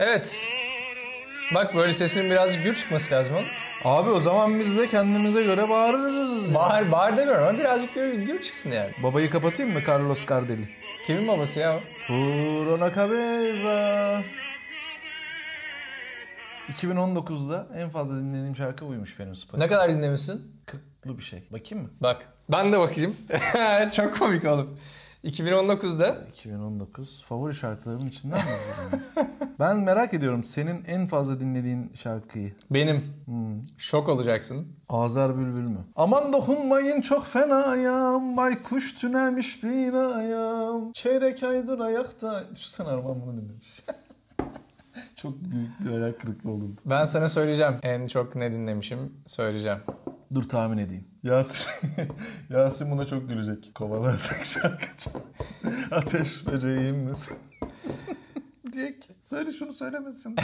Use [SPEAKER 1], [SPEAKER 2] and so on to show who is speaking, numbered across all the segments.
[SPEAKER 1] Evet. Bak böyle sesinin birazcık gür çıkması lazım oğlum.
[SPEAKER 2] Abi o zaman biz de kendimize göre bağırırız. ya.
[SPEAKER 1] Bağır, bağır demiyorum ama birazcık gür, gür çıksın yani.
[SPEAKER 2] Babayı kapatayım mı Carlos Cardelli?
[SPEAKER 1] Kimin babası ya o?
[SPEAKER 2] Por una cabeza. 2019'da en fazla dinlediğim şarkı buymuş benim Spotify.
[SPEAKER 1] Ne kadar dinlemişsin?
[SPEAKER 2] Kıklı bir şey. Bakayım mı?
[SPEAKER 1] Bak. Ben de bakayım. Çok komik oğlum. 2019'da
[SPEAKER 2] 2019 favori şarkılarımın içinden mi? ben merak ediyorum senin en fazla dinlediğin şarkıyı.
[SPEAKER 1] benim.
[SPEAKER 2] Hmm.
[SPEAKER 1] Şok olacaksın.
[SPEAKER 2] Azar Bülbül mü? Aman dokunmayın çok fenayam. Baykuş tünemiş binayam. Çeyrek aydır ayakta. Düşünsene Arman bunu dinlemiş. çok büyük bir ayak kırıklığı olurdu.
[SPEAKER 1] Ben sana söyleyeceğim. En çok ne dinlemişim söyleyeceğim.
[SPEAKER 2] Dur tahmin edeyim. Yasin, Yasin buna çok gülecek. Kovalardık şarkıcı. Ateş böceğim misin? Diyecek ki, söyle şunu söylemesin.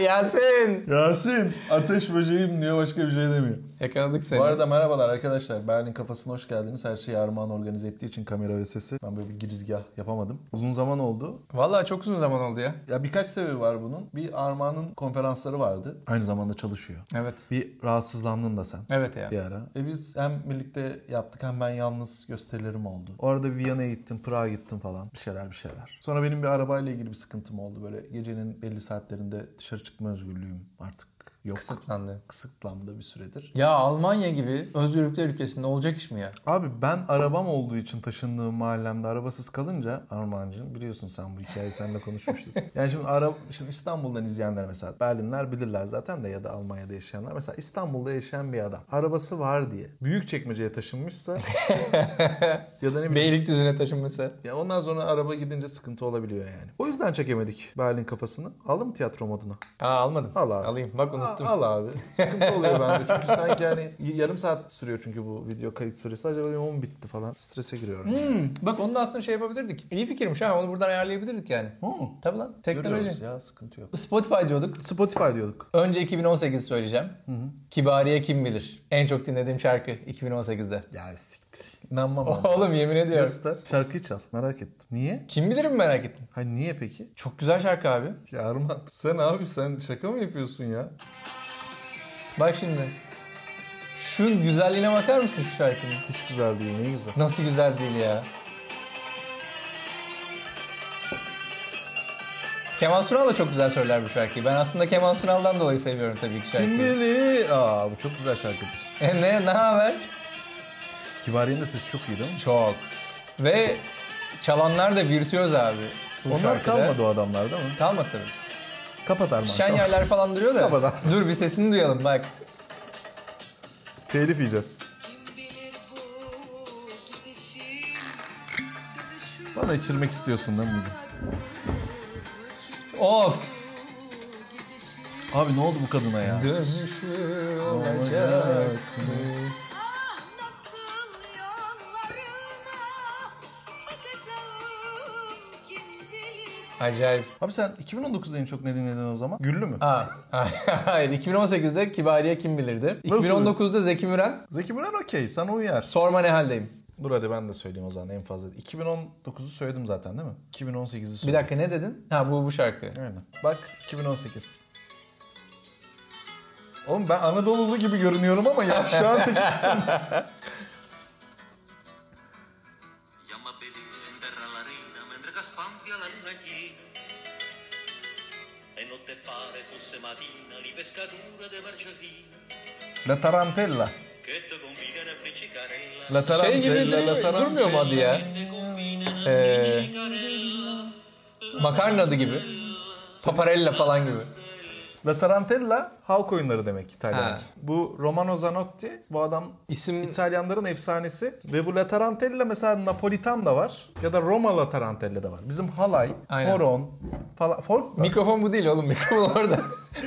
[SPEAKER 1] Yasin!
[SPEAKER 2] Yasin ateş böceğim diye başka bir şey demiyor.
[SPEAKER 1] Yakaladık seni.
[SPEAKER 2] Bu arada merhabalar arkadaşlar. Berlin kafasına hoş geldiniz. Her şeyi Armağan organize ettiği için kamera ve sesi. Ben böyle bir girizgah yapamadım. Uzun zaman oldu.
[SPEAKER 1] Vallahi çok uzun zaman oldu ya.
[SPEAKER 2] Ya birkaç sebebi var bunun. Bir Armağan'ın konferansları vardı. Aynı zamanda çalışıyor.
[SPEAKER 1] Evet.
[SPEAKER 2] Bir rahatsızlandın da sen.
[SPEAKER 1] Evet ya.
[SPEAKER 2] bir ara. E biz hem birlikte yaptık hem ben yalnız gösterilerim oldu. Orada Viyana'ya gittim, Prag'a gittim falan. Bir şeyler bir şeyler. Sonra benim bir arabayla ilgili bir sıkıntım oldu. Böyle gecenin belli saatlerinde dışarı çıkma özgürlüğüm artık yok.
[SPEAKER 1] Kısıtlandı.
[SPEAKER 2] Kısıtlandı bir süredir.
[SPEAKER 1] Ya Almanya gibi özgürlükler ülkesinde olacak iş mi ya?
[SPEAKER 2] Abi ben arabam olduğu için taşındığım mahallemde arabasız kalınca Armancığım biliyorsun sen bu hikayeyi seninle konuşmuştuk. yani şimdi, ara, şimdi İstanbul'dan izleyenler mesela Berlinler bilirler zaten de ya da Almanya'da yaşayanlar. Mesela İstanbul'da yaşayan bir adam arabası var diye büyük çekmeceye taşınmışsa ya da ne bileyim
[SPEAKER 1] Beylikdüzü'ne taşınması.
[SPEAKER 2] ya ondan sonra araba gidince sıkıntı olabiliyor yani. O yüzden çekemedik Berlin kafasını. Aldım tiyatro moduna.
[SPEAKER 1] Aa almadım.
[SPEAKER 2] Al abi.
[SPEAKER 1] Alayım. Bak
[SPEAKER 2] Aa,
[SPEAKER 1] unuttum.
[SPEAKER 2] Al, abi. Sıkıntı oluyor bende çünkü sanki hani yarım saat sürüyor çünkü bu video kayıt süresi. Acaba diyorum o mu bitti falan. Strese giriyorum.
[SPEAKER 1] Hmm, bak onu da aslında şey yapabilirdik. İyi fikirmiş ha. Onu buradan ayarlayabilirdik yani.
[SPEAKER 2] Hı.
[SPEAKER 1] Tabii lan. Teknoloji.
[SPEAKER 2] Görüyoruz ya sıkıntı yok.
[SPEAKER 1] Spotify diyorduk.
[SPEAKER 2] Spotify diyorduk.
[SPEAKER 1] Önce 2018 söyleyeceğim. Kibariye kim bilir? En çok dinlediğim şarkı 2018'de.
[SPEAKER 2] Ya siktir. İnanmam ama.
[SPEAKER 1] Oğlum yemin ediyorum.
[SPEAKER 2] Oh, Göster. Şarkıyı çal. Merak ettim. Niye?
[SPEAKER 1] Kim bilir mi merak ettim.
[SPEAKER 2] Hayır niye peki?
[SPEAKER 1] Çok güzel şarkı abi.
[SPEAKER 2] Ya Arman sen abi sen şaka mı yapıyorsun ya?
[SPEAKER 1] Bak şimdi. Şu güzelliğine bakar mısın şu şarkının?
[SPEAKER 2] Hiç güzel değil ne güzel.
[SPEAKER 1] Nasıl güzel değil ya. Kemal Sunal da çok güzel söyler bu şarkıyı. Ben aslında Kemal Sunal'dan dolayı seviyorum tabii ki
[SPEAKER 2] Kim
[SPEAKER 1] şarkıyı.
[SPEAKER 2] bilir? Aa bu çok güzel şarkıdır.
[SPEAKER 1] E ne, ne haber?
[SPEAKER 2] Kibariye'nin de sesi çok iyi değil mi?
[SPEAKER 1] Çok. Ve çalanlar da virtüöz abi. bu
[SPEAKER 2] Onlar
[SPEAKER 1] şarkıda.
[SPEAKER 2] kalmadı o adamlar değil mi?
[SPEAKER 1] Kalmadı tabii.
[SPEAKER 2] Kapat Arman.
[SPEAKER 1] Şen
[SPEAKER 2] kapat.
[SPEAKER 1] yerler falan duruyor da.
[SPEAKER 2] Kapadan.
[SPEAKER 1] Dur bir sesini duyalım bak.
[SPEAKER 2] Telif yiyeceğiz. Bana içirmek istiyorsun değil mi?
[SPEAKER 1] Of.
[SPEAKER 2] Abi ne oldu bu kadına ya?
[SPEAKER 1] Dönüşü olacak.
[SPEAKER 3] Ah, Nasıl yollarıma bakacağım kim bilir
[SPEAKER 1] Acayip.
[SPEAKER 2] Abi sen 2019'da en çok ne dinledin o zaman? Güllü mü?
[SPEAKER 1] Aa, hayır 2018'de Kibariye kim bilirdi?
[SPEAKER 2] Nasıl?
[SPEAKER 1] 2019'da Zeki Müren
[SPEAKER 2] Zeki Müren okey sana uyar.
[SPEAKER 1] Sorma ne haldeyim.
[SPEAKER 2] Dur hadi ben de söyleyeyim o zaman en fazla. 2019'u söyledim zaten değil mi? 2018'i söyledim.
[SPEAKER 1] Bir dakika ne dedin? Ha bu bu şarkı.
[SPEAKER 2] Aynen. Bak 2018. Oğlum ben Anadolu'lu gibi görünüyorum ama yavşağın teki çıktım.
[SPEAKER 4] Llama a pedir, enterra la reina, mentre che spanzia la luna piena. E notte pare fosse mattina, di pescatura de marcellina,
[SPEAKER 2] La Tarantella.
[SPEAKER 4] che te combinano friccicarella,
[SPEAKER 2] La
[SPEAKER 1] Şey
[SPEAKER 2] Tarantella.
[SPEAKER 1] gibi
[SPEAKER 2] la
[SPEAKER 1] değil mi?
[SPEAKER 2] Tarantella.
[SPEAKER 1] durmuyor mu adı ya?
[SPEAKER 4] te combinano
[SPEAKER 1] Ee,
[SPEAKER 4] friccicarella,
[SPEAKER 1] makarna adı gibi. Paparella falan gibi.
[SPEAKER 2] La Tarantella halk oyunları demek
[SPEAKER 1] Ha.
[SPEAKER 2] İtalyanca. Bu Romano Zanotti bu adam
[SPEAKER 1] İsim
[SPEAKER 2] İtalyanların efsanesi ve bu La Tarantella mesela Napolitan da var ya da Roma La Tarantella da var. Bizim halay,
[SPEAKER 1] Aynen.
[SPEAKER 2] horon falan folk da.
[SPEAKER 1] mikrofon bu değil oğlum mikrofon orada.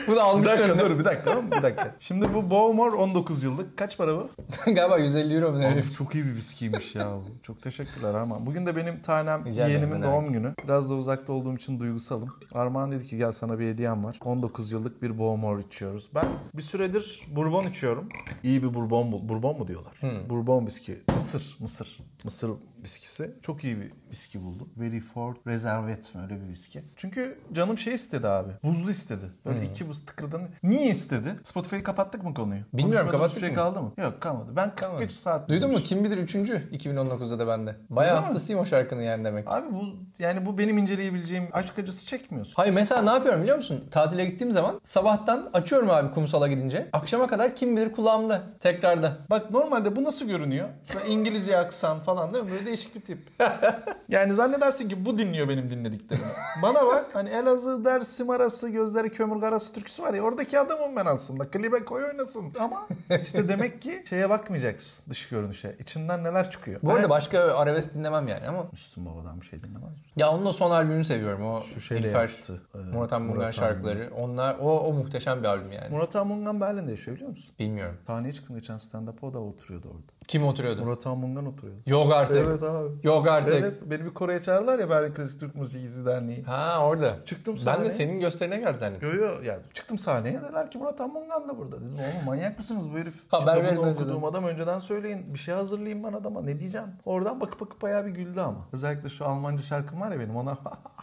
[SPEAKER 1] bu da
[SPEAKER 2] bir
[SPEAKER 1] almış
[SPEAKER 2] dakika
[SPEAKER 1] önüne.
[SPEAKER 2] dur bir dakika oğlum, bir dakika. Şimdi bu Bowmore 19 yıllık. Kaç para bu?
[SPEAKER 1] Galiba 150 euro mu ne?
[SPEAKER 2] Abi çok iyi bir viskiymiş ya bu. Çok teşekkürler Armağan. Bugün de benim tanem
[SPEAKER 1] Rica ederim,
[SPEAKER 2] yeğenimin
[SPEAKER 1] ne
[SPEAKER 2] doğum günü. Biraz da uzakta olduğum için duygusalım. Armağan dedi ki gel sana bir hediyem var. 19 yıllık bir Beaumont içiyoruz. Ben
[SPEAKER 1] Hmm.
[SPEAKER 2] bir süredir bourbon içiyorum. İyi bir bourbon bul. Bourbon mu diyorlar? Bourbon viski. Mısır, mısır. Mısır viskisi. Çok iyi bir viski buldum. Very Ford Reservet mi öyle bir viski. Çünkü canım şey istedi abi. Buzlu istedi.
[SPEAKER 1] Hmm.
[SPEAKER 2] Böyle iki buz tıkırdan. Niye istedi? Spotify'ı kapattık mı konuyu?
[SPEAKER 1] Bilmiyorum,
[SPEAKER 2] Konuşmadığımız
[SPEAKER 1] kapattık
[SPEAKER 2] şey
[SPEAKER 1] mı?
[SPEAKER 2] kaldı mı? Yok kalmadı. Ben 45
[SPEAKER 1] Tamam.
[SPEAKER 2] saat
[SPEAKER 1] Duydun mu?
[SPEAKER 2] dinlemişim.
[SPEAKER 1] Kim bilir üçüncü 2019'da da bende. Bayağı
[SPEAKER 2] Öyle mi?
[SPEAKER 1] hastasıyım o şarkının yani demek.
[SPEAKER 2] Abi bu yani bu benim inceleyebileceğim aşk acısı çekmiyorsun.
[SPEAKER 1] Hayır mesela ne yapıyorum biliyor musun? Tatile gittiğim zaman sabahtan açıyorum abi kumsala gidince. Akşama kadar kim bilir kulağımda. Tekrarda.
[SPEAKER 2] Bak normalde bu nasıl görünüyor? Böyle İngilizce aksan falan değil mi? Böyle değişik bir tip. yani zannedersin ki bu dinliyor benim dinlediklerimi. Bana bak hani Elazığ Dersim arası gözleri kömür karası türküsü var ya oradaki adamım ben aslında. Klibe koy oynasın. Ama işte demek ki şeye bakmayacaksın dış görünüşe. İçinden neler çıkıyor.
[SPEAKER 1] Bu arada
[SPEAKER 2] Ben-
[SPEAKER 1] başka arabesk dinlemem yani ama.
[SPEAKER 2] Müslüm Baba'dan bir şey dinlemez misin?
[SPEAKER 1] Ya onun o son albümünü seviyorum. O
[SPEAKER 2] Şu şeyle
[SPEAKER 1] İlfer,
[SPEAKER 2] yaptı, e,
[SPEAKER 1] Murat Anmungan
[SPEAKER 2] Murat
[SPEAKER 1] şarkıları. Onlar o, o muhteşem bir albüm yani.
[SPEAKER 2] Murat Anmungan Berlin'de yaşıyor biliyor musun?
[SPEAKER 1] Bilmiyorum.
[SPEAKER 2] Sahneye çıktım geçen stand-up'a o da oturuyordu orada.
[SPEAKER 1] Kim oturuyordu?
[SPEAKER 2] Murat Anmungan oturuyordu.
[SPEAKER 1] Yok artık.
[SPEAKER 2] Evet abi.
[SPEAKER 1] Yok artık.
[SPEAKER 2] Evet beni bir Kore'ye çağırdılar ya Berlin Klasik Türk Müziği Derneği.
[SPEAKER 1] Ha orada.
[SPEAKER 2] Çıktım
[SPEAKER 1] Ben
[SPEAKER 2] sahneye.
[SPEAKER 1] de senin gösterine hani. geldim zannettim.
[SPEAKER 2] Yo yo yani çıktım sahneye dediler ki Murat Anmungan da burada. Dedim oğlum manyak mısınız bu herif?
[SPEAKER 1] Haber verin
[SPEAKER 2] Kitabını
[SPEAKER 1] önceden.
[SPEAKER 2] okuduğum adam önceden söyleyin. Bir şey hazırlayayım ben adama ne diyeceğim. Oradan bakıp bakıp bayağı bir güldü ama. Özellikle şu Almanca şarkım var ya benim ona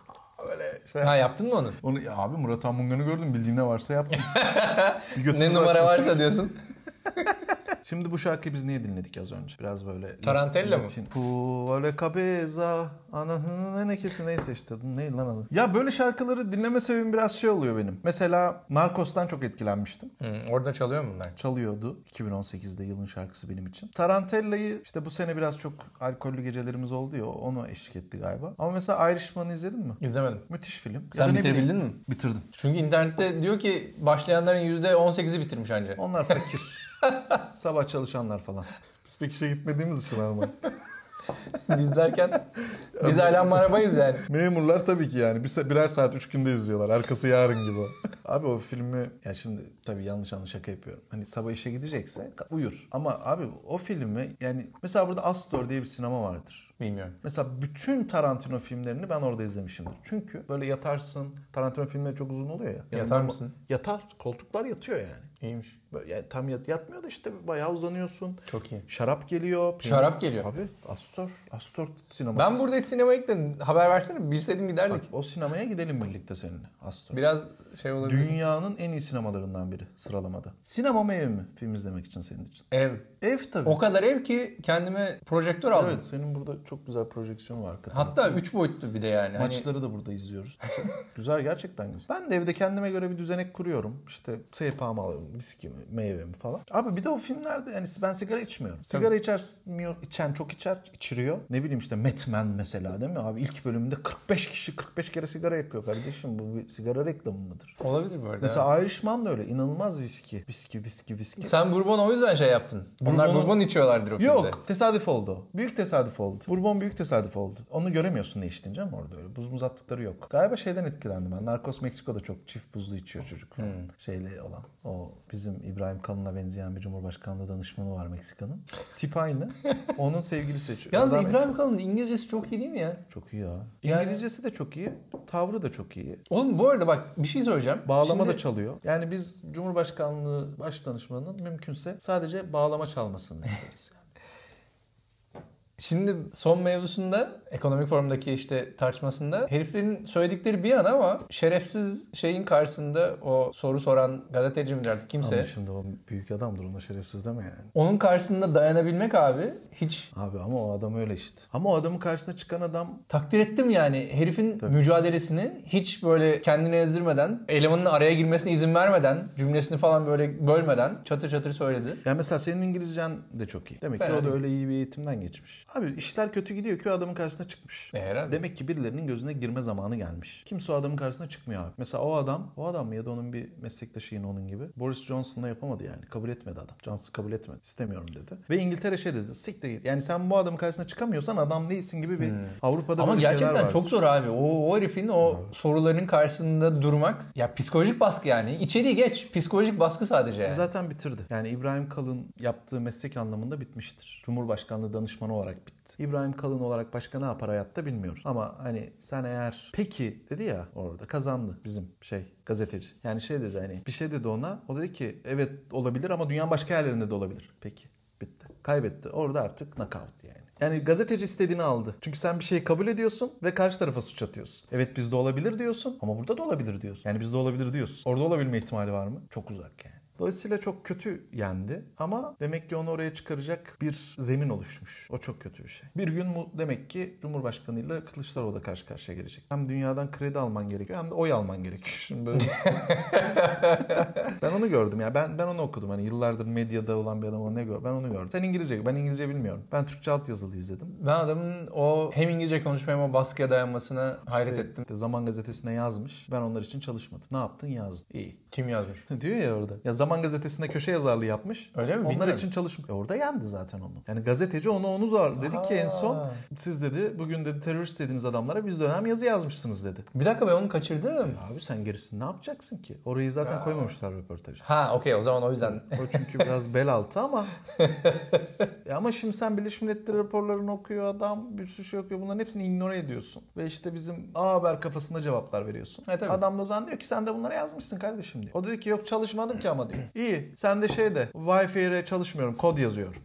[SPEAKER 2] böyle şey.
[SPEAKER 1] Ha yaptın mı onu?
[SPEAKER 2] Onu ya abi Murat Anmungan'ı gördüm bildiğin ne varsa yaptım. Bir
[SPEAKER 1] Ne
[SPEAKER 2] götümüzü
[SPEAKER 1] numara
[SPEAKER 2] açtık.
[SPEAKER 1] varsa diyorsun.
[SPEAKER 2] Şimdi bu şarkıyı biz niye dinledik az önce? Biraz böyle...
[SPEAKER 1] Tarantella mı?
[SPEAKER 2] Puvale cabeza, anahının enekesi neyse işte. Neydi lan adı? Ya böyle şarkıları dinleme sebebim biraz şey oluyor benim. Mesela Narcos'tan çok etkilenmiştim.
[SPEAKER 1] Hı, orada çalıyor mu bunlar?
[SPEAKER 2] Çalıyordu. 2018'de yılın şarkısı benim için. Tarantella'yı işte bu sene biraz çok alkollü gecelerimiz oldu ya onu eşlik etti galiba. Ama mesela Irishman'ı izledin mi?
[SPEAKER 1] İzlemedim.
[SPEAKER 2] Müthiş film. Ya
[SPEAKER 1] Sen
[SPEAKER 2] da ne
[SPEAKER 1] bitirebildin
[SPEAKER 2] bileyim,
[SPEAKER 1] mi?
[SPEAKER 2] Bitirdim.
[SPEAKER 1] Çünkü internette diyor ki başlayanların %18'i bitirmiş anca.
[SPEAKER 2] Onlar fakir. Sabah çalışanlar falan. Biz pek işe gitmediğimiz için ama.
[SPEAKER 1] Biz derken biz hala marabayız yani.
[SPEAKER 2] Memurlar tabii ki yani bir se- birer saat üç günde izliyorlar. Arkası yarın gibi. o. Abi o filmi ya şimdi tabii yanlış anlı şaka yapıyorum. Hani sabah işe gidecekse ka- uyur. Ama abi o filmi yani mesela burada Astor diye bir sinema vardır.
[SPEAKER 1] Bilmiyorum.
[SPEAKER 2] Mesela bütün Tarantino filmlerini ben orada izlemişimdir. Çünkü böyle yatarsın. Tarantino filmleri çok uzun oluyor ya. Yanında-
[SPEAKER 1] mısın?
[SPEAKER 2] Yatar. Koltuklar yatıyor yani.
[SPEAKER 1] İyiymiş.
[SPEAKER 2] Böyle yani tam yat, yatmıyor da işte bayağı uzanıyorsun.
[SPEAKER 1] Çok iyi.
[SPEAKER 2] Şarap geliyor. peynir-
[SPEAKER 1] Şarap geliyor.
[SPEAKER 2] Abi Astor. Astor sineması.
[SPEAKER 1] Ben burada hiç sinemaya gitmedim. Haber versene. Bilseydim giderdik.
[SPEAKER 2] Bak, o sinemaya gidelim birlikte seninle. Astor.
[SPEAKER 1] Biraz şey olabilir.
[SPEAKER 2] Dünyanın en iyi sinemalarından biri sıralamada. Sinema mı ev mi? Film izlemek için senin için.
[SPEAKER 1] Ev.
[SPEAKER 2] Ev tabii.
[SPEAKER 1] O kadar ev ki kendime projektör aldım.
[SPEAKER 2] evet senin burada çok güzel projeksiyon var hakikaten.
[SPEAKER 1] Hatta 3 boyutlu bir de yani. Hani
[SPEAKER 2] Maçları da burada izliyoruz. güzel gerçekten güzel. Ben de evde kendime göre bir düzenek kuruyorum. İşte sehpamı alıyorum, viskimi, meyvemi falan. Abi bir de o filmlerde yani ben sigara içmiyorum. Sigara içermiyor, içen çok içer, içiriyor. Ne bileyim işte Metmen mesela değil mi? Abi ilk bölümde 45 kişi 45 kere sigara yakıyor kardeşim. Bu bir sigara reklamı mıdır?
[SPEAKER 1] olabilir bu arada.
[SPEAKER 2] Mesela Irishman da öyle inanılmaz viski. Viski, viski, viski.
[SPEAKER 1] Sen bourbon o yüzden şey yaptın. Onlar
[SPEAKER 2] Bourbon'u-
[SPEAKER 1] bourbon içiyorlardır o filmde.
[SPEAKER 2] Yok tesadüf oldu. o. Büyük tesadüf oldu. Bourbon büyük tesadüf oldu. Onu göremiyorsun ne içtiğince ama orada öyle. Buz muz attıkları yok. Galiba şeyden etkilendim ben. Narcos Meksiko'da çok çift buzlu içiyor çocuk falan. Şeyle olan. O bizim İbrahim Kalın'a benzeyen bir cumhurbaşkanlığı danışmanı var Meksika'nın. Tip aynı. Onun sevgilisi içiyor.
[SPEAKER 1] Yalnız
[SPEAKER 2] Adam-
[SPEAKER 1] İbrahim Kalın'ın İngilizcesi çok iyi değil mi ya?
[SPEAKER 2] Çok iyi ya.
[SPEAKER 1] Yani-
[SPEAKER 2] İngilizcesi de çok iyi. Tavrı da çok iyi.
[SPEAKER 1] Oğlum bu arada bak bir şey söyleyeceğim.
[SPEAKER 2] Bağlama
[SPEAKER 1] Şimdi
[SPEAKER 2] da çalıyor. Yani biz Cumhurbaşkanlığı Başdanışmanı'nın mümkünse sadece bağlama çalmasını isteriz.
[SPEAKER 1] Şimdi son mevzusunda ekonomik forumdaki işte tartışmasında heriflerin söyledikleri bir yana ama şerefsiz şeyin karşısında o soru soran gazeteci midir artık kimse.
[SPEAKER 2] Ama şimdi o büyük adamdır ona şerefsiz deme yani.
[SPEAKER 1] Onun karşısında dayanabilmek abi hiç
[SPEAKER 2] Abi ama o adam öyle işte. Ama o adamın karşısına çıkan adam
[SPEAKER 1] takdir ettim yani herifin mücadelesini hiç böyle kendini ezdirmeden, elemanın araya girmesine izin vermeden, cümlesini falan böyle bölmeden çatır çatır söyledi.
[SPEAKER 2] yani mesela senin İngilizcen de çok iyi. Demek ki
[SPEAKER 1] Fena
[SPEAKER 2] o da
[SPEAKER 1] değil.
[SPEAKER 2] öyle iyi bir eğitimden geçmiş. Abi işler kötü gidiyor ki o adamın karşısına çıkmış.
[SPEAKER 1] E, herhalde.
[SPEAKER 2] Demek ki birilerinin gözüne girme zamanı gelmiş. Kimse o adamın karşısına çıkmıyor abi. Mesela o adam, o adam mı ya da onun bir meslektaşı yine onun gibi. Boris Johnson'la yapamadı yani. Kabul etmedi adam. Johnson kabul etmedi. İstemiyorum dedi. Ve İngiltere şey dedi. Siktir git. Yani sen bu adamın karşısına çıkamıyorsan adam değilsin gibi bir Avrupa'da
[SPEAKER 1] Hmm. Ama
[SPEAKER 2] böyle şeyler
[SPEAKER 1] gerçekten
[SPEAKER 2] var.
[SPEAKER 1] çok zor abi. O, o herifin o soruların karşısında durmak. Ya psikolojik baskı yani. İçeriği geç. Psikolojik baskı sadece yani.
[SPEAKER 2] Zaten bitirdi. Yani İbrahim Kalın yaptığı meslek anlamında bitmiştir. Cumhurbaşkanlığı danışmanı olarak bitti. İbrahim Kalın olarak başka ne yapar hayatta bilmiyoruz. Ama hani sen eğer peki dedi ya orada kazandı bizim şey gazeteci. Yani şey dedi hani bir şey dedi ona. O dedi ki evet olabilir ama dünyanın başka yerlerinde de olabilir. Peki bitti. Kaybetti. Orada artık knockout yani. Yani gazeteci istediğini aldı. Çünkü sen bir şeyi kabul ediyorsun ve karşı tarafa suç atıyorsun. Evet bizde olabilir diyorsun ama burada da olabilir diyorsun. Yani bizde olabilir diyorsun. Orada olabilme ihtimali var mı? Çok uzak yani. Dolayısıyla çok kötü yendi ama demek ki onu oraya çıkaracak bir zemin oluşmuş. O çok kötü bir şey. Bir gün mu demek ki Cumhurbaşkanı ile Kılıçdaroğlu da karşı karşıya gelecek. Hem dünyadan kredi alman gerekiyor hem de oy alman gerekiyor. Şimdi böyle ben onu gördüm ya. Ben ben onu okudum. Hani yıllardır medyada olan bir adam o ne gör? Ben onu gördüm. Sen İngilizce, ben İngilizce bilmiyorum. Ben Türkçe altyazılı izledim.
[SPEAKER 1] Ben adamın o hem İngilizce konuşmaya hem o baskıya dayanmasına hayret
[SPEAKER 2] İşte-
[SPEAKER 1] ettim.
[SPEAKER 2] işte Zaman gazetesine yazmış. Ben onlar için çalışmadım. Ne yaptın? Yazdım. İyi.
[SPEAKER 1] Kim yazmış?
[SPEAKER 2] Diyor ya orada. Ya Zaman gazetesinde köşe yazarlığı yapmış.
[SPEAKER 1] Öyle mi?
[SPEAKER 2] Onlar
[SPEAKER 1] Bilmiyorum.
[SPEAKER 2] için çalışma. E orada yendi zaten onu. Yani gazeteci onu onu zor. Dedi ki en son
[SPEAKER 1] Aa.
[SPEAKER 2] siz dedi bugün dedi terörist dediğiniz adamlara biz dönem yazı yazmışsınız dedi.
[SPEAKER 1] Bir dakika ben onu kaçırdım.
[SPEAKER 2] E abi sen gerisini ne yapacaksın ki? Orayı zaten koymamışlar röportaja.
[SPEAKER 1] Ha okey o zaman o yüzden.
[SPEAKER 2] O çünkü biraz bel altı ama E ama şimdi sen Birleşmiş Milletler raporlarını okuyor adam bir sürü şey okuyor bunların hepsini ignore ediyorsun. Ve işte bizim A Haber kafasında cevaplar veriyorsun.
[SPEAKER 1] E, tabii.
[SPEAKER 2] adam da o zaman diyor ki sen de bunları yazmışsın kardeşim diyor. O diyor ki yok çalışmadım ki ama diyor. İyi sen de şeyde Wi-Fi'ye çalışmıyorum kod yazıyorum.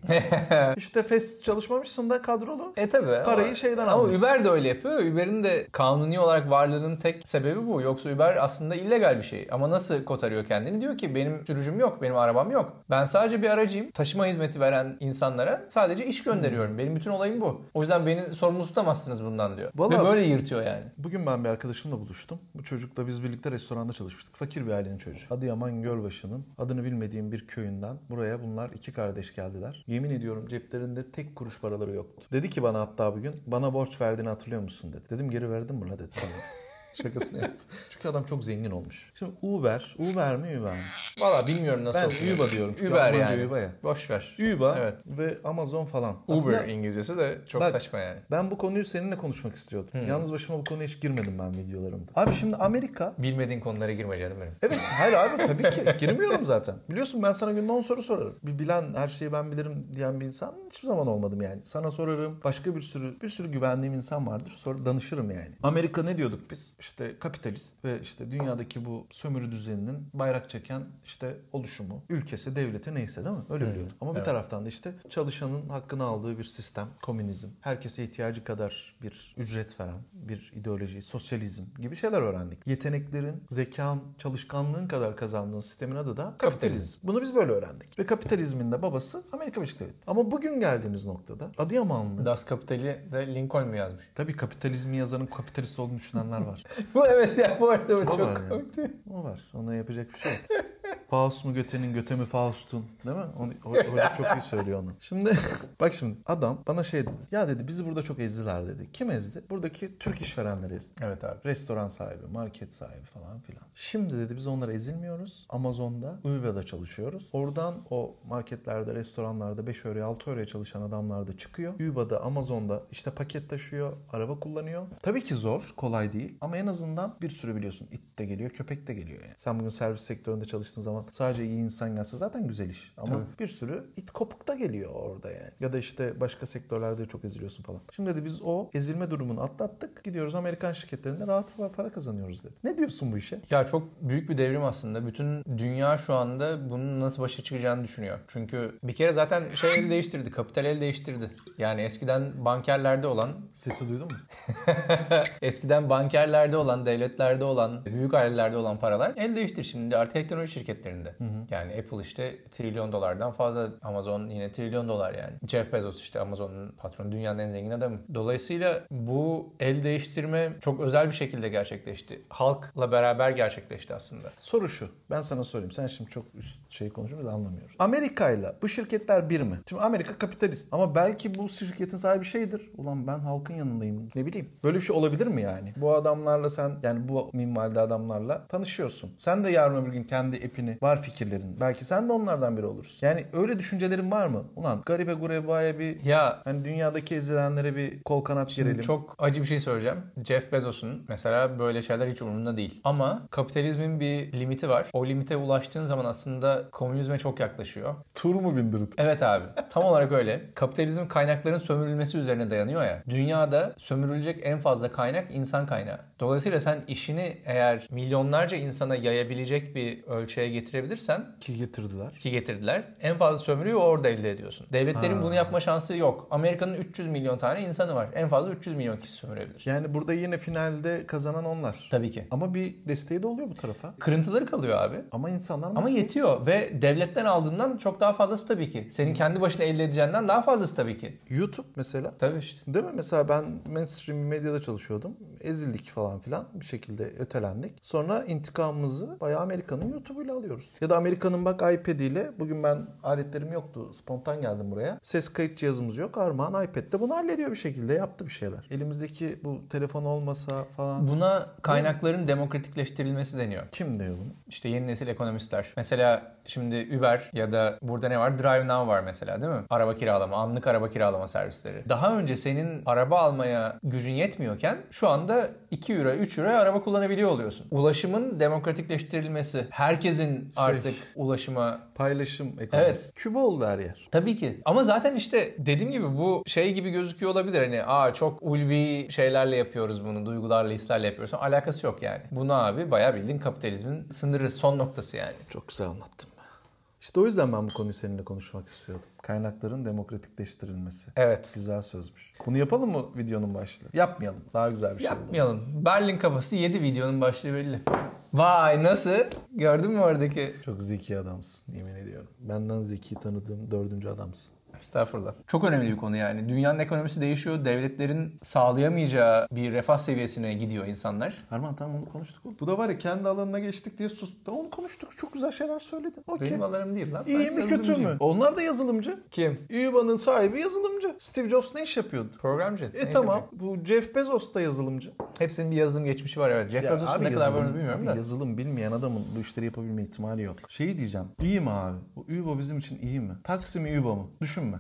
[SPEAKER 2] işte fest çalışmamışsın da kadrolu.
[SPEAKER 1] E tabi.
[SPEAKER 2] Parayı şeyden
[SPEAKER 1] Ama
[SPEAKER 2] almış.
[SPEAKER 1] Uber de öyle yapıyor. Uber'in de kanuni olarak varlığının tek sebebi bu. Yoksa Uber aslında illegal bir şey. Ama nasıl kotarıyor kendini? Diyor ki benim sürücüm yok, benim arabam yok. Ben sadece bir aracıyım. Taşıma hizmeti veren insanlara sadece iş gönderiyorum. Benim bütün olayım bu. O yüzden beni sorumlu tutamazsınız bundan diyor.
[SPEAKER 2] Vallahi-
[SPEAKER 1] Ve böyle yırtıyor yani.
[SPEAKER 2] Bugün ben bir arkadaşımla buluştum. Bu çocukla biz birlikte restoranda çalışmıştık. Fakir bir ailenin çocuğu. Adıyaman Gölbaşı'nın adını bilmediğim bir köyünden buraya bunlar iki kardeş geldiler. Yemin ediyorum ceplerinde tek kuruş paraları yoktu. Dedi ki bana hatta bugün bana borç verdiğini hatırlıyor musun dedi. Dedim geri verdim mi la dedi. Tamam. Şakasını yaptı. Çünkü adam çok zengin olmuş. Şimdi Uber, Uber mi Uber mi?
[SPEAKER 1] Valla bilmiyorum nasıl
[SPEAKER 2] Ben
[SPEAKER 1] okunuyor.
[SPEAKER 2] Uber diyorum. Çünkü
[SPEAKER 1] Uber
[SPEAKER 2] Almanca
[SPEAKER 1] yani.
[SPEAKER 2] Uber ya.
[SPEAKER 1] Boş ver.
[SPEAKER 2] Uber
[SPEAKER 1] Evet.
[SPEAKER 2] ve Amazon falan.
[SPEAKER 1] Uber
[SPEAKER 2] Aslında
[SPEAKER 1] İngilizcesi de çok
[SPEAKER 2] Bak-
[SPEAKER 1] saçma yani.
[SPEAKER 2] ben bu konuyu seninle konuşmak istiyordum. Yalnız başıma bu konuya hiç girmedim ben videolarımda. Abi şimdi Amerika
[SPEAKER 1] Bilmediğin konulara girme canım benim.
[SPEAKER 2] Evet hayır abi tabii ki girmiyorum zaten. Biliyorsun ben sana günde 10 soru sorarım. Bir bilen her şeyi ben bilirim diyen bir insan hiçbir zaman olmadım yani. Sana sorarım. Başka bir sürü bir sürü güvendiğim insan vardır. Sor, danışırım yani. Amerika ne diyorduk biz? İşte kapitalist ve işte dünyadaki bu sömürü düzeninin bayrak çeken işte oluşumu, ülkesi, devleti neyse değil mi? Öyle biliyorduk. Ama bir taraftan da işte çalışanın hakkını aldığı bir sistem, komünizm, herkese ihtiyacı kadar bir ücret veren bir ideoloji, sosyalizm gibi şeyler öğrendik. Yeteneklerin, zekan, çalışkanlığın kadar kazandığın sistemin adı da kapitalizm. Bunu biz böyle öğrendik. Ve kapitalizmin de babası Amerika Birleşik Devletleri. Ama bugün geldiğimiz noktada Adıyamanlı
[SPEAKER 1] Das Kapital'i de Lincoln mu yazmış?
[SPEAKER 2] Tabii kapitalizmi yazanın kapitalist olduğunu düşünenler var.
[SPEAKER 1] bu evet ya bu arada bu
[SPEAKER 2] var
[SPEAKER 1] çok
[SPEAKER 2] ya.
[SPEAKER 1] komikti.
[SPEAKER 2] O var. Ona yapacak bir şey yok. Faust mu Göte'nin, Göte mi Faust'un? Değil mi? Onu, ho- hoca çok iyi söylüyor onu. Şimdi bak şimdi adam bana şey dedi. Ya dedi bizi burada çok ezdiler dedi. Kim ezdi? Buradaki Türk işverenleri ezdi.
[SPEAKER 1] Evet abi.
[SPEAKER 2] Restoran sahibi, market sahibi falan filan. Şimdi dedi biz onlara ezilmiyoruz. Amazon'da, Uber'da çalışıyoruz. Oradan o marketlerde, restoranlarda 5 euroya 6 euroya çalışan adamlar da çıkıyor. Uber'da, Amazon'da işte paket taşıyor, araba kullanıyor. Tabii ki zor, kolay değil ama en azından bir sürü biliyorsun. İt de geliyor, köpek de geliyor yani. Sen bugün servis sektöründe çalıştığın zaman sadece iyi insan gelse zaten güzel iş. Ama bir sürü it kopuk da geliyor orada yani. Ya da işte başka sektörlerde çok eziliyorsun falan. Şimdi dedi biz o ezilme durumunu atlattık. Gidiyoruz Amerikan şirketlerinde rahat para kazanıyoruz dedi. Ne diyorsun bu işe?
[SPEAKER 1] Ya çok büyük bir devrim aslında. Bütün dünya şu anda bunun nasıl başa çıkacağını düşünüyor. Çünkü bir kere zaten şey el değiştirdi. Kapital el değiştirdi. Yani eskiden bankerlerde olan,
[SPEAKER 2] Sesi duydun mu?
[SPEAKER 1] eskiden bankerlerde olan, devletlerde olan, büyük ailelerde olan paralar el değiştir şimdi artık teknoloji şirketlerinde. Yani Apple işte trilyon dolardan fazla, Amazon yine trilyon dolar yani. Jeff Bezos işte Amazon'un patronu, dünyanın en zengin adamı. Dolayısıyla bu el değiştirme çok özel bir şekilde gerçekleşti. Halkla beraber gerçekleşti aslında.
[SPEAKER 2] Soru şu. Ben sana sorayım. Sen şimdi çok üst şey konuşuyoruz anlamıyoruz. Amerika ile bu şirketler bir mi? Şimdi Amerika kapitalist ama belki bu şirketin sahibi şeydir. Ulan ben halkın yanındayım. Ne bileyim. Böyle bir şey olabilir mi yani? Bu adamlarla sen yani bu minvalde adamlarla tanışıyorsun. Sen de yarın öbür gün kendi epini var fikirlerin. Belki sen de onlardan biri olursun. Yani öyle düşüncelerin var mı? Ulan garibe gurebaya bir
[SPEAKER 1] Ya
[SPEAKER 2] hani dünyadaki ezilenlere bir kol kanat gerelim.
[SPEAKER 1] çok acı bir şey söyleyeceğim. Jeff Bezos'un mesela böyle şeyler hiç umurunda değil. Ama kapitalizmin bir limiti var. O limite ulaştığın zaman aslında komünizme çok yaklaşıyor.
[SPEAKER 2] tur mu bindirdi?
[SPEAKER 1] Evet abi. Tam olarak öyle. Kapitalizm kaynakların sömürülmesi üzerine dayanıyor ya. Dünyada sömürülecek en fazla kaynak insan kaynağı. Dolayısıyla sen işini eğer milyonlarca insana yayabilecek bir ölçüye getirebilirsen
[SPEAKER 2] Ki getirdiler.
[SPEAKER 1] ki getirdiler. En fazla sömürüyü orada elde ediyorsun. Devletlerin
[SPEAKER 2] Ha.
[SPEAKER 1] bunu yapma şansı yok. Amerika'nın 300 milyon tane insanı var. En fazla 300 milyon kişi sömürebilir.
[SPEAKER 2] Yani burada yine finalde kazanan onlar.
[SPEAKER 1] Tabii ki.
[SPEAKER 2] Ama bir desteği de oluyor bu tarafa.
[SPEAKER 1] Kırıntıları kalıyor abi.
[SPEAKER 2] Ama insanlar
[SPEAKER 1] Ama yetiyor ve devletten aldığından çok daha fazlası tabii ki. Senin kendi başına elde edeceğinden daha fazlası tabii ki.
[SPEAKER 2] YouTube mesela
[SPEAKER 1] Tabii işte.
[SPEAKER 2] Değil mi? Mesela ben mainstream medyada çalışıyordum. Ezildik falan filan. Bir şekilde ötelendik. Sonra intikamımızı bayağı Amerika'nın YouTube'uyla alıyoruz. Ya da Amerika'nın bak iPad'iyle. Bugün ben aletlerim yoktu. Spontan geldim buraya. Ses kayıt cihazımız yok. Armağan iPad'de bunu hallediyor bir şekilde. Yaptı bir şeyler. Elimizdeki bu telefon olmasa falan.
[SPEAKER 1] Buna kaynakların demokratikleştirilmesi deniyor.
[SPEAKER 2] Kim diyor bunu?
[SPEAKER 1] İşte yeni nesil ekonomistler. Mesela şimdi Uber ya da burada ne var? Drive Now var mesela değil mi? Araba kiralama, anlık araba kiralama servisleri. Daha önce senin araba almaya gücün yetmiyorken şu anda 2 euro, 3 euro araba kullanabiliyor oluyorsun. Ulaşımın demokratikleştirilmesi. Herkesin artık ulaşıma
[SPEAKER 2] Paylaşım ekonomisi. Küba oldu her yer.
[SPEAKER 1] Tabii ki. Ama zaten işte dediğim gibi bu şey gibi gözüküyor olabilir. Hani aa çok ulvi şeylerle yapıyoruz bunu. Duygularla, hislerle yapıyoruz. Ama alakası yok yani. Buna abi bayağı bildiğin kapitalizmin sınırı, son noktası yani.
[SPEAKER 2] Çok güzel anlattım. İşte o yüzden ben bu konuyu seninle konuşmak istiyordum. Kaynakların demokratikleştirilmesi.
[SPEAKER 1] Evet.
[SPEAKER 2] Güzel sözmüş. Bunu yapalım mı videonun başlığı? Yapmayalım. Daha güzel bir şey yapalım.
[SPEAKER 1] Yapmayalım. Berlin kafası 7 videonun başlığı belli. Vay nasıl? Gördün mü oradaki?
[SPEAKER 2] Çok zeki adamsın yemin ediyorum. Benden zeki tanıdığım dördüncü adamsın.
[SPEAKER 1] Estağfurullah. Çok önemli bir konu yani. Dünyanın ekonomisi değişiyor. Devletlerin sağlayamayacağı bir refah seviyesine gidiyor insanlar.
[SPEAKER 2] Erman tamam onu konuştuk. Bu da var ya kendi alanına geçtik diye sus. Onu konuştuk. Çok güzel şeyler söyledin. Okey.
[SPEAKER 1] Benim alanım değil lan.
[SPEAKER 2] İyi
[SPEAKER 1] Ben
[SPEAKER 2] mi kötü mü?
[SPEAKER 1] yazılımcıyım.
[SPEAKER 2] Onlar da yazılımcı.
[SPEAKER 1] Kim?
[SPEAKER 2] Uba'nın sahibi yazılımcı. Steve Jobs ne iş yapıyordu?
[SPEAKER 1] Programcı.
[SPEAKER 2] E
[SPEAKER 1] Neyse.
[SPEAKER 2] tamam. Bu Jeff Bezos da yazılımcı.
[SPEAKER 1] Hepsinin bir yazılım geçmişi var evet. Jeff Bezos'un ne kadar var onu bilmiyorum
[SPEAKER 2] abi
[SPEAKER 1] da.
[SPEAKER 2] yazılım bilmeyen adamın bu işleri yapabilme ihtimali yok. Şeyi diyeceğim. İyi mi abi? Bu Uba bizim için iyi mi? Taksi mi Uba mı? Düşünme.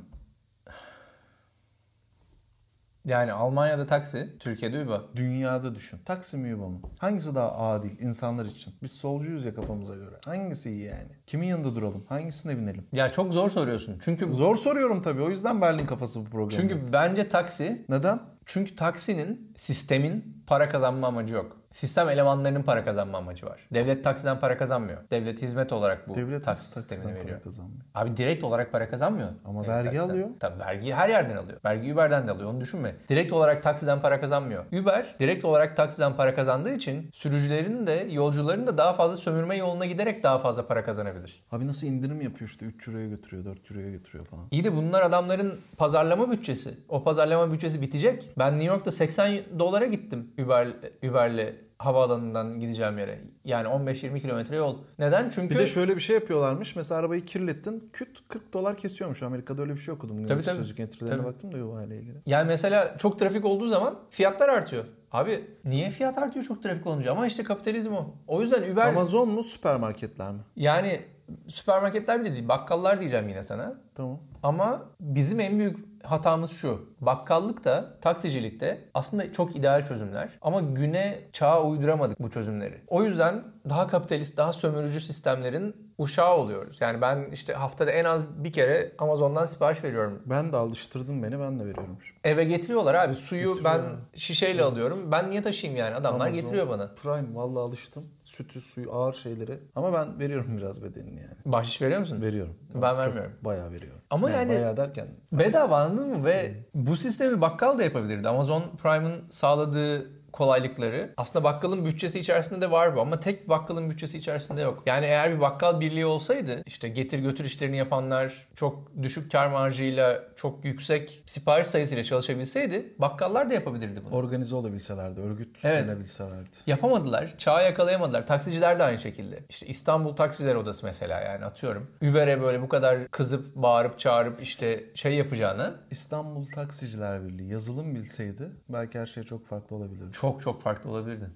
[SPEAKER 1] Yani Almanya'da taksi, Türkiye'de Uber.
[SPEAKER 2] Dünyada düşün. Taksim mi Yuba mı? Hangisi daha adil insanlar için? Biz solcuyuz ya kafamıza göre. Hangisi iyi yani? Kimin yanında duralım? Hangisine binelim?
[SPEAKER 1] Ya çok zor soruyorsun. Çünkü
[SPEAKER 2] Zor soruyorum tabii. O yüzden Berlin kafası bu program.
[SPEAKER 1] çünkü bence taksi,
[SPEAKER 2] neden?
[SPEAKER 1] çünkü taksinin, sistemin para kazanma amacı yok. Sistem elemanlarının para kazanma amacı var. Devlet taksiden para kazanmıyor. Devlet hizmet olarak bu
[SPEAKER 2] Devlet
[SPEAKER 1] taksi
[SPEAKER 2] taksi
[SPEAKER 1] sistemini
[SPEAKER 2] taksiden
[SPEAKER 1] veriyor.
[SPEAKER 2] para kazanmıyor.
[SPEAKER 1] Abi direkt olarak para kazanmıyor.
[SPEAKER 2] Ama
[SPEAKER 1] Devlet
[SPEAKER 2] vergi alıyor.
[SPEAKER 1] Tabii vergiyi her yerden alıyor. Vergi Uber'den de alıyor onu düşünme. Direkt olarak taksiden para kazanmıyor. Uber direkt olarak taksiden para kazandığı için sürücülerin de yolcuların da daha fazla sömürme yoluna giderek daha fazla para kazanabilir.
[SPEAKER 2] Abi nasıl indirim yapıyor işte 3 euroya götürüyor, 4 euroya götürüyor falan.
[SPEAKER 1] İyi de bunlar adamların pazarlama bütçesi. O pazarlama bütçesi bitecek. Ben New York'ta 80 dolara gittim Uber Uber'le havaalanından gideceğim yere. Yani 15-20 kilometre yol. Neden? Çünkü
[SPEAKER 2] Bir de şöyle bir şey yapıyorlarmış. Mesela arabayı kirlettin. Küt 40 dolar kesiyormuş. Amerika'da öyle bir şey okudum. Tabii
[SPEAKER 1] tabii.
[SPEAKER 2] Sözlük entrilerine
[SPEAKER 1] Tabii.
[SPEAKER 2] baktım da Yuva ile ilgili.
[SPEAKER 1] Yani mesela çok trafik olduğu zaman fiyatlar artıyor. Abi niye fiyat artıyor çok trafik olunca? Ama işte kapitalizm o. O yüzden Uber
[SPEAKER 2] Amazon mu süpermarketler mi?
[SPEAKER 1] yani süpermarketler bile değil bakkallar diyeceğim yine sana.
[SPEAKER 2] Tamam.
[SPEAKER 1] Ama bizim en büyük hatamız şu. Bakkallık da taksicilik de aslında çok ideal çözümler. Ama güne çağa uyduramadık bu çözümleri. O yüzden daha kapitalist, daha sömürücü sistemlerin uşağı oluyoruz. Yani ben işte haftada en az bir kere Amazon'dan sipariş veriyorum.
[SPEAKER 2] Ben de alıştırdın beni ben de veriyorum şimdi.
[SPEAKER 1] Eve getiriyorlar abi. Suyu ben
[SPEAKER 2] Getiriyor.
[SPEAKER 1] şişeyle alıyorum. Ben niye taşıyayım yani? Adamlar
[SPEAKER 2] Amazon
[SPEAKER 1] getiriyor bana.
[SPEAKER 2] Prime vallahi alıştım. Sütü, suyu, ağır şeyleri. Ama ben veriyorum biraz bedenini yani.
[SPEAKER 1] Bahşiş veriyor musun?
[SPEAKER 2] Veriyorum.
[SPEAKER 1] Ben
[SPEAKER 2] Çok-
[SPEAKER 1] vermiyorum.
[SPEAKER 2] Bayağı veriyorum.
[SPEAKER 1] Ama yani-
[SPEAKER 2] bayağı derken
[SPEAKER 1] Bedava anladın mı? Ve bu sistemi bakkal da yapabilirdi. Amazon Prime'ın sağladığı kolaylıkları aslında bakkalın bütçesi içerisinde de var bu ama tek bakkalın bütçesi içerisinde yok. Yani eğer bir bakkal birliği olsaydı işte getir götür işlerini yapanlar çok düşük kar marjıyla çok yüksek sipariş sayısıyla çalışabilseydi bakkallar da yapabilirdi bunu.
[SPEAKER 2] organize olabilselerdi,
[SPEAKER 1] Evet.
[SPEAKER 2] örgütlenebilselerdi.
[SPEAKER 1] Yapamadılar. Çağı yakalayamadılar. Taksiciler de aynı şekilde. İşte İstanbul Taksiciler Odası mesela yani atıyorum. Uber'e böyle bu kadar kızıp bağırıp çağırıp işte şey yapacağını
[SPEAKER 2] İstanbul Taksiciler Birliği yazılım bilseydi belki her şey çok farklı olabilirdi.
[SPEAKER 1] çok çok farklı olabilirdi.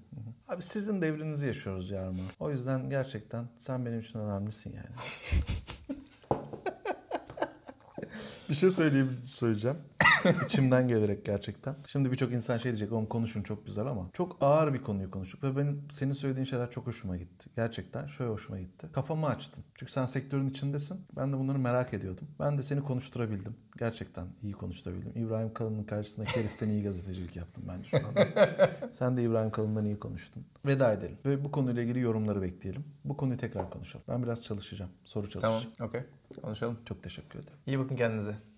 [SPEAKER 2] Abi sizin devrinizi yaşıyoruz Yarma. O yüzden gerçekten sen benim için önemlisin yani. bir şey söyleyeyim, söyleyeceğim. İçimden gelerek gerçekten. Şimdi birçok insan şey diyecek oğlum konuşun çok güzel ama çok ağır bir konuyu konuştuk ve benim senin söylediğin şeyler çok hoşuma gitti. Gerçekten şöyle hoşuma gitti. Kafamı açtın. Çünkü sen sektörün içindesin. Ben de bunları merak ediyordum. Ben de seni konuşturabildim. Gerçekten iyi konuşturabildim. İbrahim Kalın'ın karşısındaki heriften iyi gazetecilik yaptım bence şu anda. Sen de İbrahim Kalın'dan iyi konuştun. Veda edelim ve bu konuyla ilgili yorumları bekleyelim. Bu konuyu tekrar konuşalım. Ben biraz çalışacağım. Soru çalışacağım.
[SPEAKER 1] אוקיי, Tamam. Okey. Konuşalım.
[SPEAKER 2] Çok teşekkür ederim.
[SPEAKER 1] İyi bakın kendinize.